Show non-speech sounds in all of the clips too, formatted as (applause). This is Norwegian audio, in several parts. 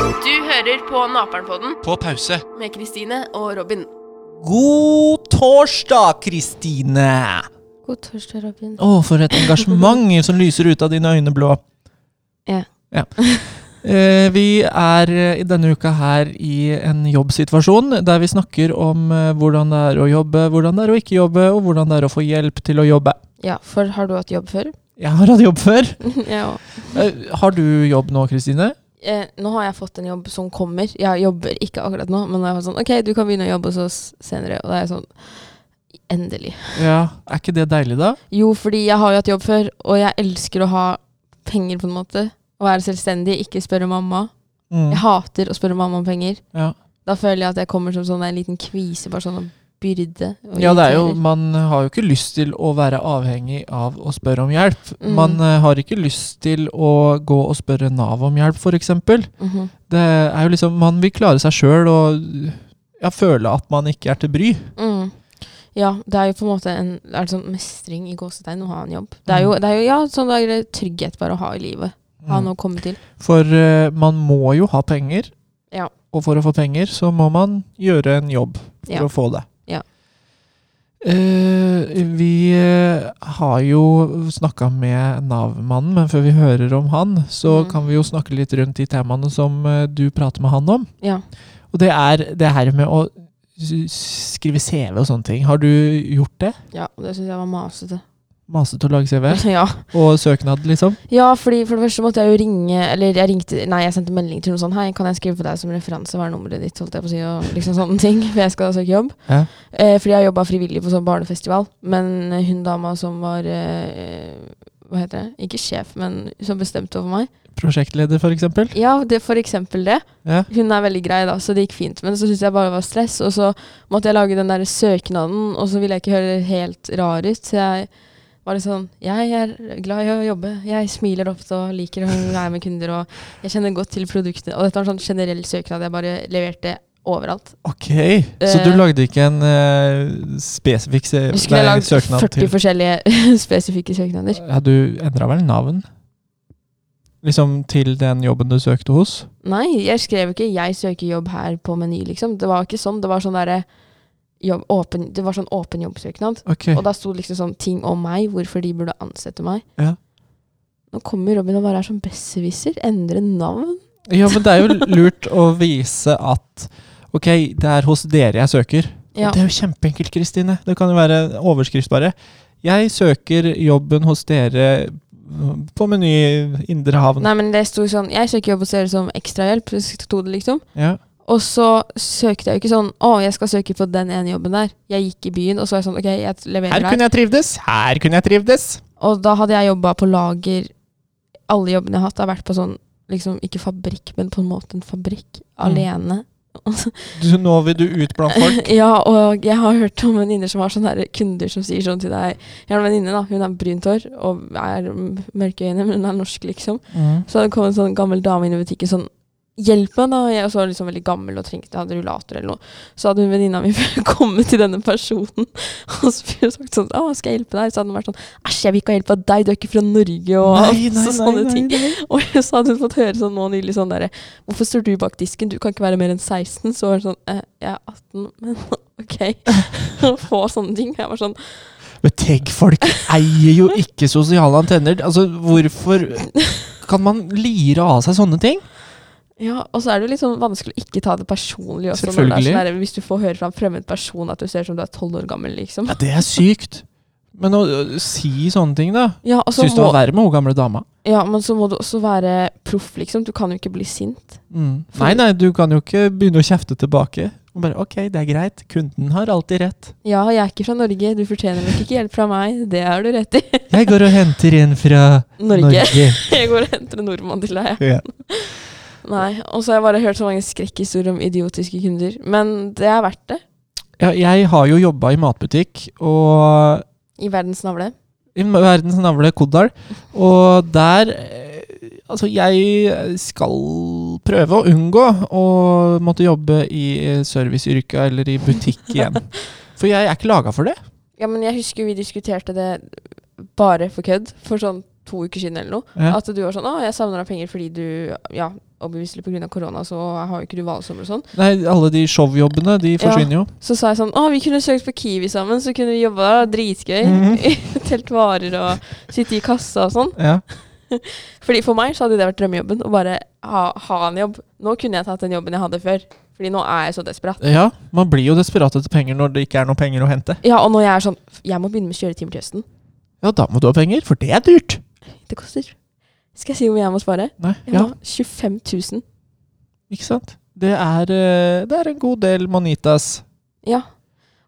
hører på Naperen-podden På pause. med Kristine og Robin. God torsdag, Kristine! God torsdag, Robin. Å, for et engasjement (laughs) som lyser ut av dine øyne blå. Ja. Eh, vi er eh, i denne uka her i en jobbsituasjon der vi snakker om eh, hvordan det er å jobbe, hvordan det er å ikke jobbe, og hvordan det er å få hjelp til å jobbe. Ja, for har du hatt jobb før? Jeg har hatt jobb før. ja. Eh, har du jobb nå, Kristine? Eh, nå har jeg fått en jobb som kommer. Jeg jobber ikke akkurat nå, men jeg var sånn, ok, du kan begynne å jobbe hos oss senere. Og da er jeg sånn, endelig. Ja. Er ikke det deilig, da? Jo, fordi jeg har jo hatt jobb før, og jeg elsker å ha penger på en måte. Å være selvstendig, ikke spørre mamma. Mm. Jeg hater å spørre mamma om penger. Ja. Da føler jeg at jeg kommer som sånn en liten kvise, bare sånn en byrde. og Ja, det er jo, irriterer. man har jo ikke lyst til å være avhengig av å spørre om hjelp. Mm. Man eh, har ikke lyst til å gå og spørre Nav om hjelp, f.eks. Mhm. Det er jo liksom, man vil klare seg sjøl og ja, føle at man ikke er til bry. Mm. Ja, det er jo på en måte en er det sånn mestring i gåsetegn å ha en jobb. Det er jo, det er jo ja, sånn det er trygghet bare å ha i livet. Mm. Ha noe å komme til. For eh, man må jo ha penger, Ja. og for å få penger så må man gjøre en jobb for Ja. å få det. Ja. Eh, vi eh, har jo snakka med Nav-mannen, men før vi hører om han, så Mm. kan vi jo snakke litt rundt de temaene som eh, du prater med han om. Ja. Og det er det her med å s- skrive CV og sånne ting. Har du gjort det? ja og det syns jeg var masete. Masete å lage (laughs) CV? (laughs) Ja. Og søknad, liksom? ja, fordi for det første måtte jeg jo ringe Eller jeg ringte Nei, jeg sendte melding til noen sånn Hei, kan jeg skrive på deg som referanse? Hva er nummeret ditt? Holdt jeg på å si, og liksom sånne ting. (laughs) For jeg skal søke jobb. Ja. Eh, fordi jeg jobba frivillig på sånn barnefestival. Men hun dama som var eh, Hva heter det? Ikke sjef, men som bestemte over meg. Prosjektleder, for eksempel? Ja, det, for eksempel det. Ja. Hun er veldig grei, da, så det gikk fint. Men så syntes jeg bare det var stress, og så måtte jeg lage den der søknaden, og så ville jeg ikke høre helt rar ut. Så jeg var litt sånn Jeg er glad i å jobbe. Jeg smiler ofte og liker å være med kunder, og jeg kjenner godt til produktet. Og dette var en sånn generell søknad jeg bare leverte overalt. Ok, så du Eh, lagde ikke en eh, spesifikk se- Jeg skulle nei, lagd søknad 40 til forskjellige (laughs) spesifikke søknader. Ja, du endra vel navn? Liksom til den jobben du søkte hos? Nei, jeg skrev ikke 'jeg søker jobb her' på Meny, liksom. Det var ikke sånn. Det var sånn derre jobb, åpen, det var sånn åpen jobbsøknad. Ok, (laughs) Og da sto det liksom sånn ting om meg, hvorfor de burde ansette meg. Ja. Nå kommer Robin og bare er som besserwisser. Endre navn. Ja, men det er jo lurt å vise at Ok, det er hos dere jeg søker. Ja. Og det er jo kjempeenkelt, Kristine. Det kan jo være en overskrift, bare. Jeg søker jobben hos dere mm, på Meny Indre Havn. Nei, men det sto sånn Jeg søker jobb hos dere som ekstrahjelp, så sto det liksom. Ja. Og så søkte jeg jo ikke sånn Å, jeg skal søke på den ene jobben der. Jeg gikk i byen, og så var jeg sånn Ok, jeg leverer Her her. kunne jeg trivdes! Her kunne jeg trivdes! Og da hadde jeg jobba på lager. Alle jobbene jeg har hatt, har vært på sånn liksom ikke fabrikk, men på en måte en fabrikk. Mm. Alene. Du, nå vil du ut blant (laughs) folk. Ja, og jeg har hørt om venninner som har sånne her kunder som sier sånn til deg Jeg har en venninne, da. Hun har brunt hår og er m- mørke øyne, men hun er norsk, liksom. Mm. Så hadde det kommet en sånn gammel dame inn i butikken sånn Hjelp meg, da. Og jeg var liksom veldig gammel og trengte hadde rullator eller noe. Så hadde hun venninna mi (laughs) kommet til denne personen og så sagt sånn Å, skal jeg hjelpe deg? Så hadde hun vært sånn Æsj, jeg vil ikke ha hjelp av deg, du er ikke fra Norge, og så sånne ting. nei. Og så hadde hun fått høre sånn nå nylig sånn derre Hvorfor står du bak disken? Du kan ikke være mer enn 16. Så var det sånn eh, Jeg er 18, men (laughs) ok. Å få sånne ting. Jeg var sånn Men tenk, folk eier jo ikke sosiale antenner. Altså, hvorfor kan man lire av seg sånne ting? Ja, og så er det jo litt sånn vanskelig å ikke ta det personlig også. når det er Selvfølgelig. Sånn der, hvis du får høre fra en fremmed person at du ser ut som du er 12 år gammel, liksom. Ja, det er sykt. Men å ø, si sånne ting, da. Ja, og så Syns det må, var verre med hun gamle dama. ja, men så må du også være proff, liksom. Du kan jo ikke bli sint. Mm. Nei, nei, du kan jo ikke begynne å kjefte tilbake. Og bare OK, det er greit. Kunden har alltid rett. Ja, jeg er ikke fra Norge. Du fortjener nok ikke hjelp fra meg. Det har du rett i. (laughs) Jeg går og henter en fra Norge. (laughs) Jeg går og henter en nordmann til deg. (laughs) Ja. Nei, og så har jeg bare hørt så mange skrekkhistorier om idiotiske kunder. Men det er verdt det. Ja, jeg har jo jobba i matbutikk, og I verdens navle. i verdens navle Kodal. Og der eh, Altså, jeg skal prøve å unngå å måtte jobbe i serviceyrka eller i butikk (laughs) igjen. For jeg er ikke laga for det. Ja, men jeg husker vi diskuterte det bare for kødd for sånn to uker siden eller noe. Ja. At du var sånn 'Å, jeg savner deg penger fordi du Ja, obviously pga. korona, så har jo ikke du valgsommer og sånn. Nei, alle de showjobbene, de forsvinner jo. Så sa jeg sånn Å, vi kunne søkt på Kiwi sammen, så kunne vi jobba der. Dritgøy. (laughs) Telt varer og sitte i kassa og sånn. Ja. Fordi For meg så hadde det vært drømmejobben. Å bare ha, ha en jobb. Nå kunne jeg tatt den jobben jeg hadde før. Fordi nå er jeg så desperat. ja, man blir jo desperat etter penger når det ikke er noe penger å hente. Ja, og når jeg er sånn Jeg må begynne med kjøretimer til høsten. Ja, da må du ha penger, for det er dyrt. Det koster. Skal jeg si hvor mye jeg må spare? Nei, Jeg ja, må ha 25 000. ikke sant? Det er, eh, det er en god del manitas. Ja.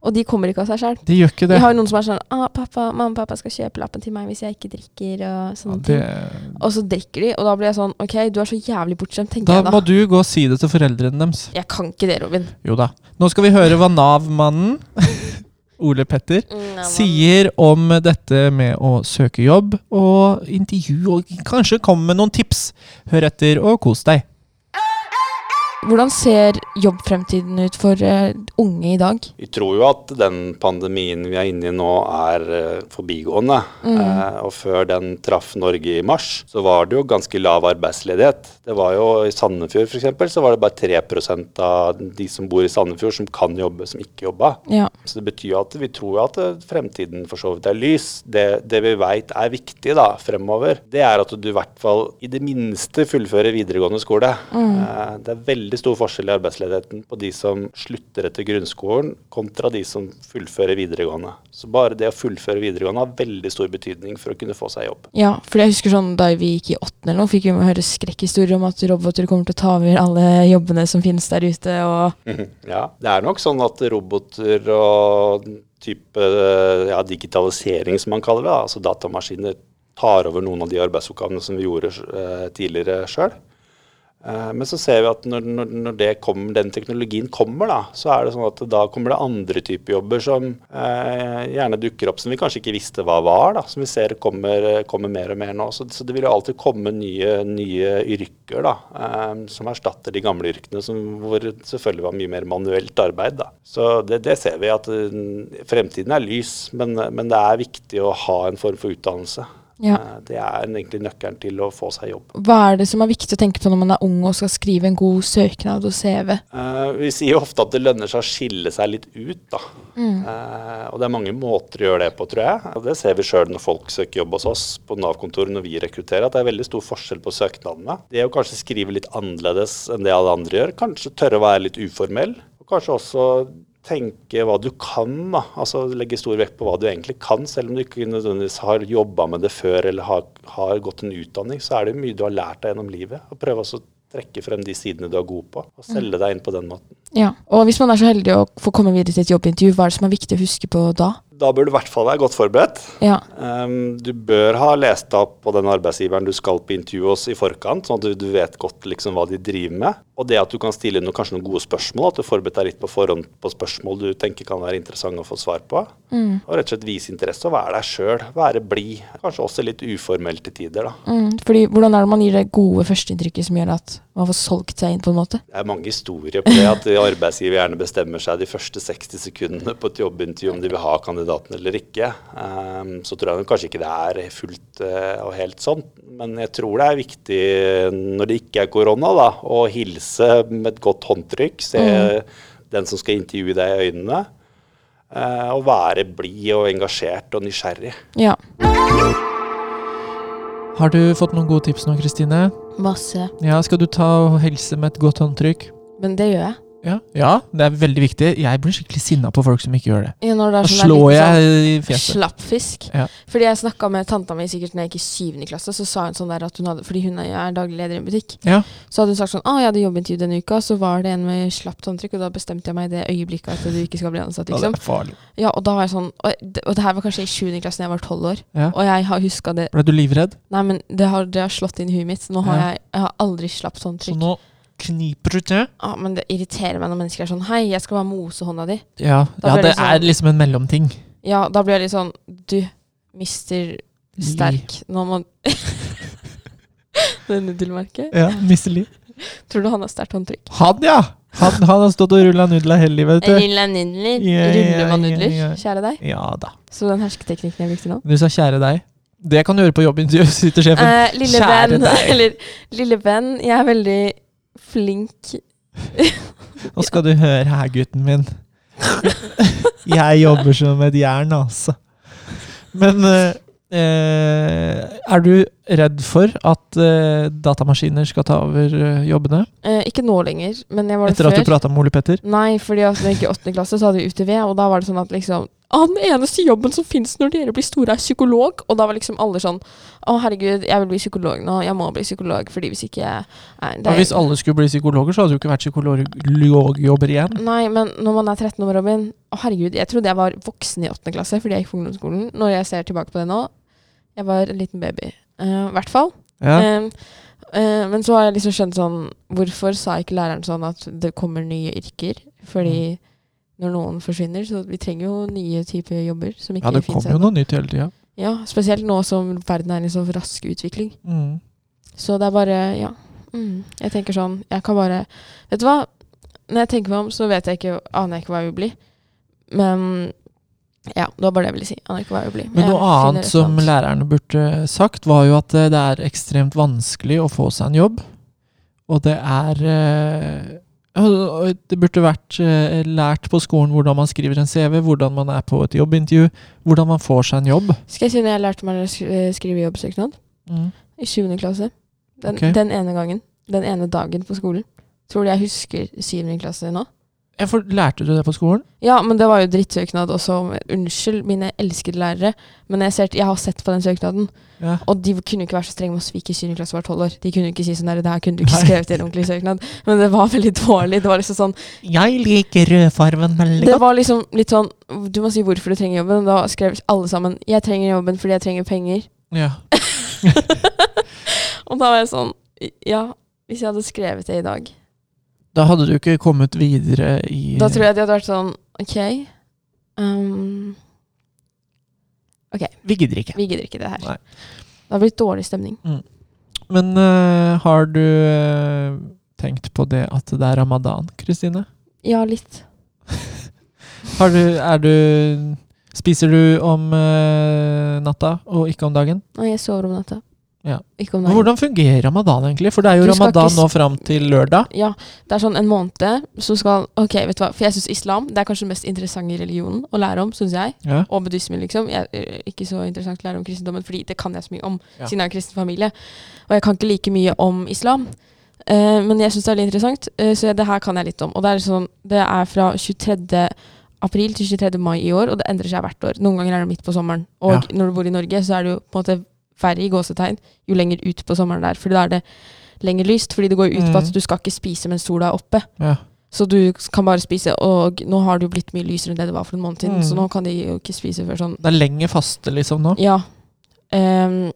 Og de kommer ikke av seg sjøl. De gjør ikke det. Jeg har jo noen som er sånn ah, pappa, 'Mamma og pappa skal kjøpe lappen til meg hvis jeg ikke drikker.' Og Ja, sånne det ting. Og så drikker de, og da blir jeg sånn 'Ok, du er så jævlig bortskjemt', tenker da jeg da. må du gå og si det til foreldrene deres. Jeg kan ikke det, Robin. Jo da. Nå skal vi høre hva (laughs) Nav-mannen, Ole Petter, sier om dette med å søke jobb og intervju, og kanskje komme med noen tips. Hør etter og kos deg. Hvordan ser jobbfremtiden ut for eh, unge i dag? Vi tror jo at den pandemien vi er inne i nå er eh, forbigående. Eh, og før den traff Norge i mars, så var det jo ganske lav arbeidsledighet. Det var jo I Sandefjord f.eks. så var det bare 3 av de som bor i Sandefjord som kan jobbe, som ikke jobba. Ja. Så det betyr jo at vi tror jo at eh, fremtiden for så vidt er lys. Det, det vi veit er viktig da, fremover, det er at du i hvert fall i det minste fullfører videregående skole. Eh, Det er veldig stor forskjell i arbeidsledigheten på de som slutter etter grunnskolen, kontra de som fullfører videregående. Så bare det å fullføre videregående har veldig stor betydning for å kunne få seg jobb. ja, for jeg husker sånn da vi gikk i åttende eller noe, fikk vi høre skrekkhistorier om at roboter kommer til å ta over alle jobbene som finnes der ute, og (laughs) Ja, det er nok sånn at roboter og type eh, ja, digitalisering, som man kaller det, da, altså datamaskiner, tar over noen av de arbeidsoppgavene som vi gjorde eh, tidligere sjøl. Eh, Men så ser vi at når, når, når det kommer, den teknologien kommer, da, så er det sånn at da kommer det andre typer jobber som eh, gjerne dukker opp, som vi kanskje ikke visste hva var, da, som vi ser kommer, kommer mer og mer nå. Så, så det vil jo alltid komme nye, nye yrker da, eh, som erstatter de gamle yrkene, som, hvor det selvfølgelig var mye mer manuelt arbeid. Da. Så det, det ser vi, at eh, fremtiden er lys, men, men det er viktig å ha en form for utdannelse. Ja. Eh, Det er egentlig nøkkelen til å få seg jobb. hva er det som er viktig å tenke på når man er ung og skal skrive en god søknad og CV? Eh, vi sier jo ofte at det lønner seg å skille seg litt ut, da. Eh, og det er mange måter å gjøre det på, tror jeg. Og det ser vi sjøl når folk søker jobb hos oss på Nav-kontoret når vi rekrutterer, at det er veldig stor forskjell på søknadene. Det å kanskje skrive litt annerledes enn det alle andre gjør, kanskje tørre å være litt uformell. Og kanskje også tenke hva du kan, da. Altså legge stor vekt på hva du egentlig kan, selv om du ikke nødvendigvis har jobba med det før eller har, har gått en utdanning, så er det jo mye du har lært deg gjennom livet. Og prøve også å trekke frem de sidene du er god på, og selge deg inn på den måten. Ja. Og hvis man er så heldig å få komme videre til et jobbintervju, hva er det som er viktig å huske på da? Da bør du i hvert fall være godt forberedt. Ja. Ehm, du bør ha lest deg opp på den arbeidsgiveren du skal på intervju hos i forkant, sånn at du, du vet godt liksom hva de driver med. Og det at du kan stille noen, kanskje noen gode spørsmål, at du forbereder deg litt på forhånd på spørsmål du tenker kan være interessante å få svar på. Og rett og slett vise interesse og være deg sjøl, være blid. Kanskje også litt uformell til tider, da. Mm, fordi hvordan er det man gir det gode førsteinntrykket som gjør at man får solgt seg inn, på en måte? Det er mange historier på det, at arbeidsgiver gjerne bestemmer seg de første 60 sekundene på et jobbintervju om de vil ha kandidaten eller ikke. Ehm, så tror jeg nok kanskje ikke det er fullt eh, og helt sånn, men jeg tror det er viktig når det ikke er korona, da, å hilse med et godt håndtrykk. Se den som skal intervjue deg i øynene. eh, og være blid og engasjert og nysgjerrig. Ja. Har du fått noen gode tips nå, Kristine? Masse. Ja, skal du ta og helse med et godt håndtrykk? Men det gjør jeg. Ja. ja, det er veldig viktig. Jeg blir skikkelig sinna på folk som ikke gjør det. Ja, når det Da er sånn slår det er litt jeg i Sånn, fjeset. slappfisk. Ja. Fordi jeg snakka med tanta mi sikkert når jeg gikk i syvende klasse, så sa hun sånn der at hun hadde Fordi hun er, er daglig leder i en butikk. Ja. Så hadde hun sagt sånn Å, jeg hadde jobbintervju denne uka, så var det en med slapt håndtrykk, og da bestemte jeg meg i det øyeblikket at du ikke skal bli ansatt, Ja, det liksom. er farlig. Ja, og da var jeg sånn Og, det- og det her var kanskje i sjuende klasse da jeg var tolv år, Ja. og jeg har huska det Ble du livredd? Nei, men det har, det har slått inn i huet mitt. så Nå har Ja. jeg, jeg har aldri slapt Så håndtrykk. nå kniper du til. Ja, men det irriterer meg når mennesker er sånn Hei, jeg skal bare mose hånda di. Ja, Da ja blir det det er sånn- liksom en mellomting. Ja, da blir jeg litt sånn Du, mister sterk Nå må (laughs) Det nudelmerket. Ja, Mister Li. Tror du han har sterkt håndtrykk? Han, ja! Han, han har stått og rulla nudla hele livet, vet du. Lilla nudler. Ja, ja, Ruller man ja, nudler? ja. Kjære deg. Ja da. Så den hersketeknikken jeg brukte nå Du sa kjære deg. Det kan du gjøre på jobbintervju, sitter sjefen. Eh, lille Kjære venn, deg. (laughs) eller lille venn, jeg er veldig flink. Nå skal du høre her, gutten min. (laughs) Jeg jobber som et jern, altså. Men eh, eh, er du redd for at eh, datamaskiner skal ta over eh, jobbene? Eh, ikke nå lenger, men jeg var det Etter at du før. prata med Ole Petter? Nei, fordi at når jeg gikk i åttende klasse, så hadde vi UTV, og da var det sånn at liksom «Å, den eneste jobben som finnes når dere blir store, er psykolog. Og da var liksom alle sånn Å, herregud, jeg vil bli psykolog nå. Jeg må bli psykolog, fordi hvis ikke jeg er Ja, hvis alle skulle bli psykologer, så hadde det jo ikke vært psykologjobber igjen. Nei, men når man er 13 år, Robin Å, herregud, jeg trodde jeg var voksen i 8. klasse fordi jeg gikk på ungdomsskolen. Når jeg ser tilbake på det nå, jeg var en liten baby. Eh, I hvert fall. Ja. Eh, eh, men så har jeg liksom skjønt sånn Hvorfor sa ikke læreren sånn at det kommer nye yrker? Mm. Fordi når noen forsvinner, så vi trenger jo nye typer jobber som ikke Ja, det finnes kommer jo ennå. noe nytt hele tida. Ja, spesielt nå som verden er i så rask utvikling. Mm. Så det er bare Ja. Mm. Jeg tenker sånn Jeg kan bare Vet du hva? Når jeg tenker meg om, så vet jeg ikke, aner jeg ikke hva jeg vil bli. Men ja, det var bare det jeg ville si. Aner ikke hva jeg vil bli. Men Jeg noe finner annet et som eller annet. lærerne burde sagt, var jo at eh, det er ekstremt vanskelig å få seg en jobb. Og det er eh, og- og Det burde vært eh, lært på skolen hvordan man skriver en CV, hvordan man er på et jobbintervju, hvordan man får seg en jobb. Skal jeg si når jeg lærte meg å sk- skrive jobbsøknad? Mm. I 7. klasse. Den, Ok. den ene gangen. Den ene dagen på skolen. Tror du jeg husker 7. klasse nå? Ja, for lærte du det på skolen? Ja, men det var jo drittsøknad også. Unnskyld, mine elskede lærere, men jeg, ser, jeg har sett på den søknaden. Ja. Og de kunne jo ikke være så strenge med å svike syvende klasse var tolv år. De kunne jo ikke si sånn der, det her kunne du ikke Nei. skrevet i en ordentlig søknad. Men det var veldig dårlig. Det var liksom sånn, Jeg liker rødfarven veldig det var liksom litt sånn Du må si hvorfor du trenger jobben. Og da skrev alle sammen 'Jeg trenger jobben fordi jeg trenger penger'. Ja. Og da var jeg sånn Ja, hvis jeg hadde skrevet det i dag, Da hadde du ikke kommet videre i da tror jeg de hadde vært sånn OK. ehm, Vi gidder ikke. vi gidder ikke det her. Nei. Det har blitt dårlig stemning. Men eh, har du eh, tenkt på det at det er ramadan, Kristine? Ja, litt. Har du, er du Spiser du om eh, natta og ikke om dagen? Nei, jeg sover om natta. Ja. Ikke om Men dagen. Hvordan fungerer ramadan egentlig? For det er jo Du skal ramadan ikke s- nå fram til lørdag. Ja, det er sånn en måned så skal Ok, vet du hva, for jeg syns islam det er kanskje den mest interessante religionen å lære om, syns jeg. Ja. Og buddhismen, liksom. Jeg, eh, ikke så interessant å lære om kristendommen, fordi det kan jeg så mye om, Ja. siden jeg er en kristen familie. Og jeg kan ikke like mye om islam. Eh, men jeg syns det er veldig interessant, eh, så det her kan jeg litt om. Og det er, sånn, det er fra 23. april til 23. mai i år, og det endrer seg hvert år. Noen ganger er det midt på sommeren. Og Ja. når du bor i Norge, så er det jo på en måte verre i gåsetegn jo lenger ut på sommeren det er, fordi da er det lenger lyst. Fordi det går jo ut på Mm. at du skal ikke spise mens sola er oppe. Ja. Så du kan bare spise, og nå har det jo blitt mye lysere enn det det var for en måned siden, Mm. så nå kan de jo ikke spise før sånn Det er lenge faste liksom nå. Ja. Ehm,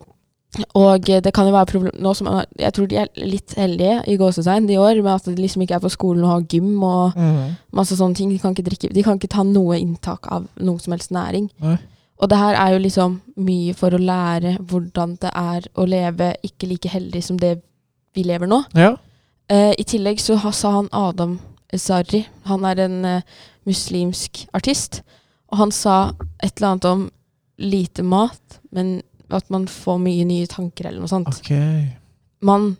og det kan jo være problem nå som er- Jeg tror de er litt heldige i gåsetegn i år, med at de liksom ikke er på skolen og har gym og Mm. masse sånne ting. De kan ikke drikke De kan ikke ta noe inntak av noe som helst næring. Nei. Og det her er jo liksom mye for å lære hvordan det er å leve ikke like heldig som det vi lever nå. Ja. Eh, I tillegg så ha- sa han Adam Sarri, han er en eh, muslimsk artist, og han sa et eller annet om lite mat, men at man får mye nye tanker eller noe sånt. Ok. Man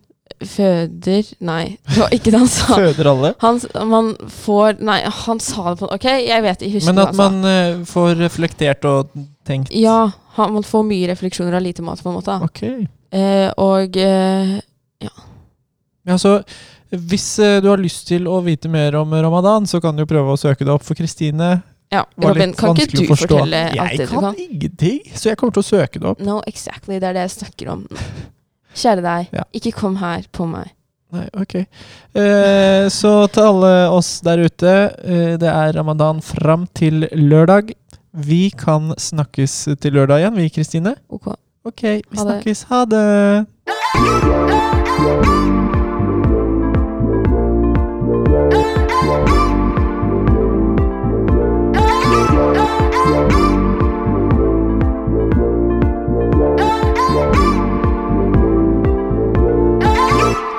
føder Nei, det var ikke det han (laughs) sa. Føder alle. Han, s- man får Nei, han sa det på Ok, jeg vet ikke, jeg husker Men hva at han sa. man eh, får reflektert og tenkt. altså. Ja, han, man får mye refleksjoner av lite mat, på en måte. da. Ok. Eh, og eh, Ja, så hvis eh, du har lyst til å vite mer om ramadan, så kan du jo prøve å søke det opp for Kristine. Ja, var Robin, litt kan ikke vanskelig du å forstå. fortelle alt Jeg det du kan? kan ingenting, så jeg kommer til å søke det opp. No, exactly. Det er det jeg snakker om. Kjære deg, Ja. ikke kom her på meg. Nei, ok. Eh, så til alle oss der ute, eh, det er ramadan fram til lørdag. Vi kan snakkes til lørdag igjen, vi, Kristine. Ok. Ok, vi Ha det. snakkes. Ha det!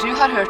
Du har hørt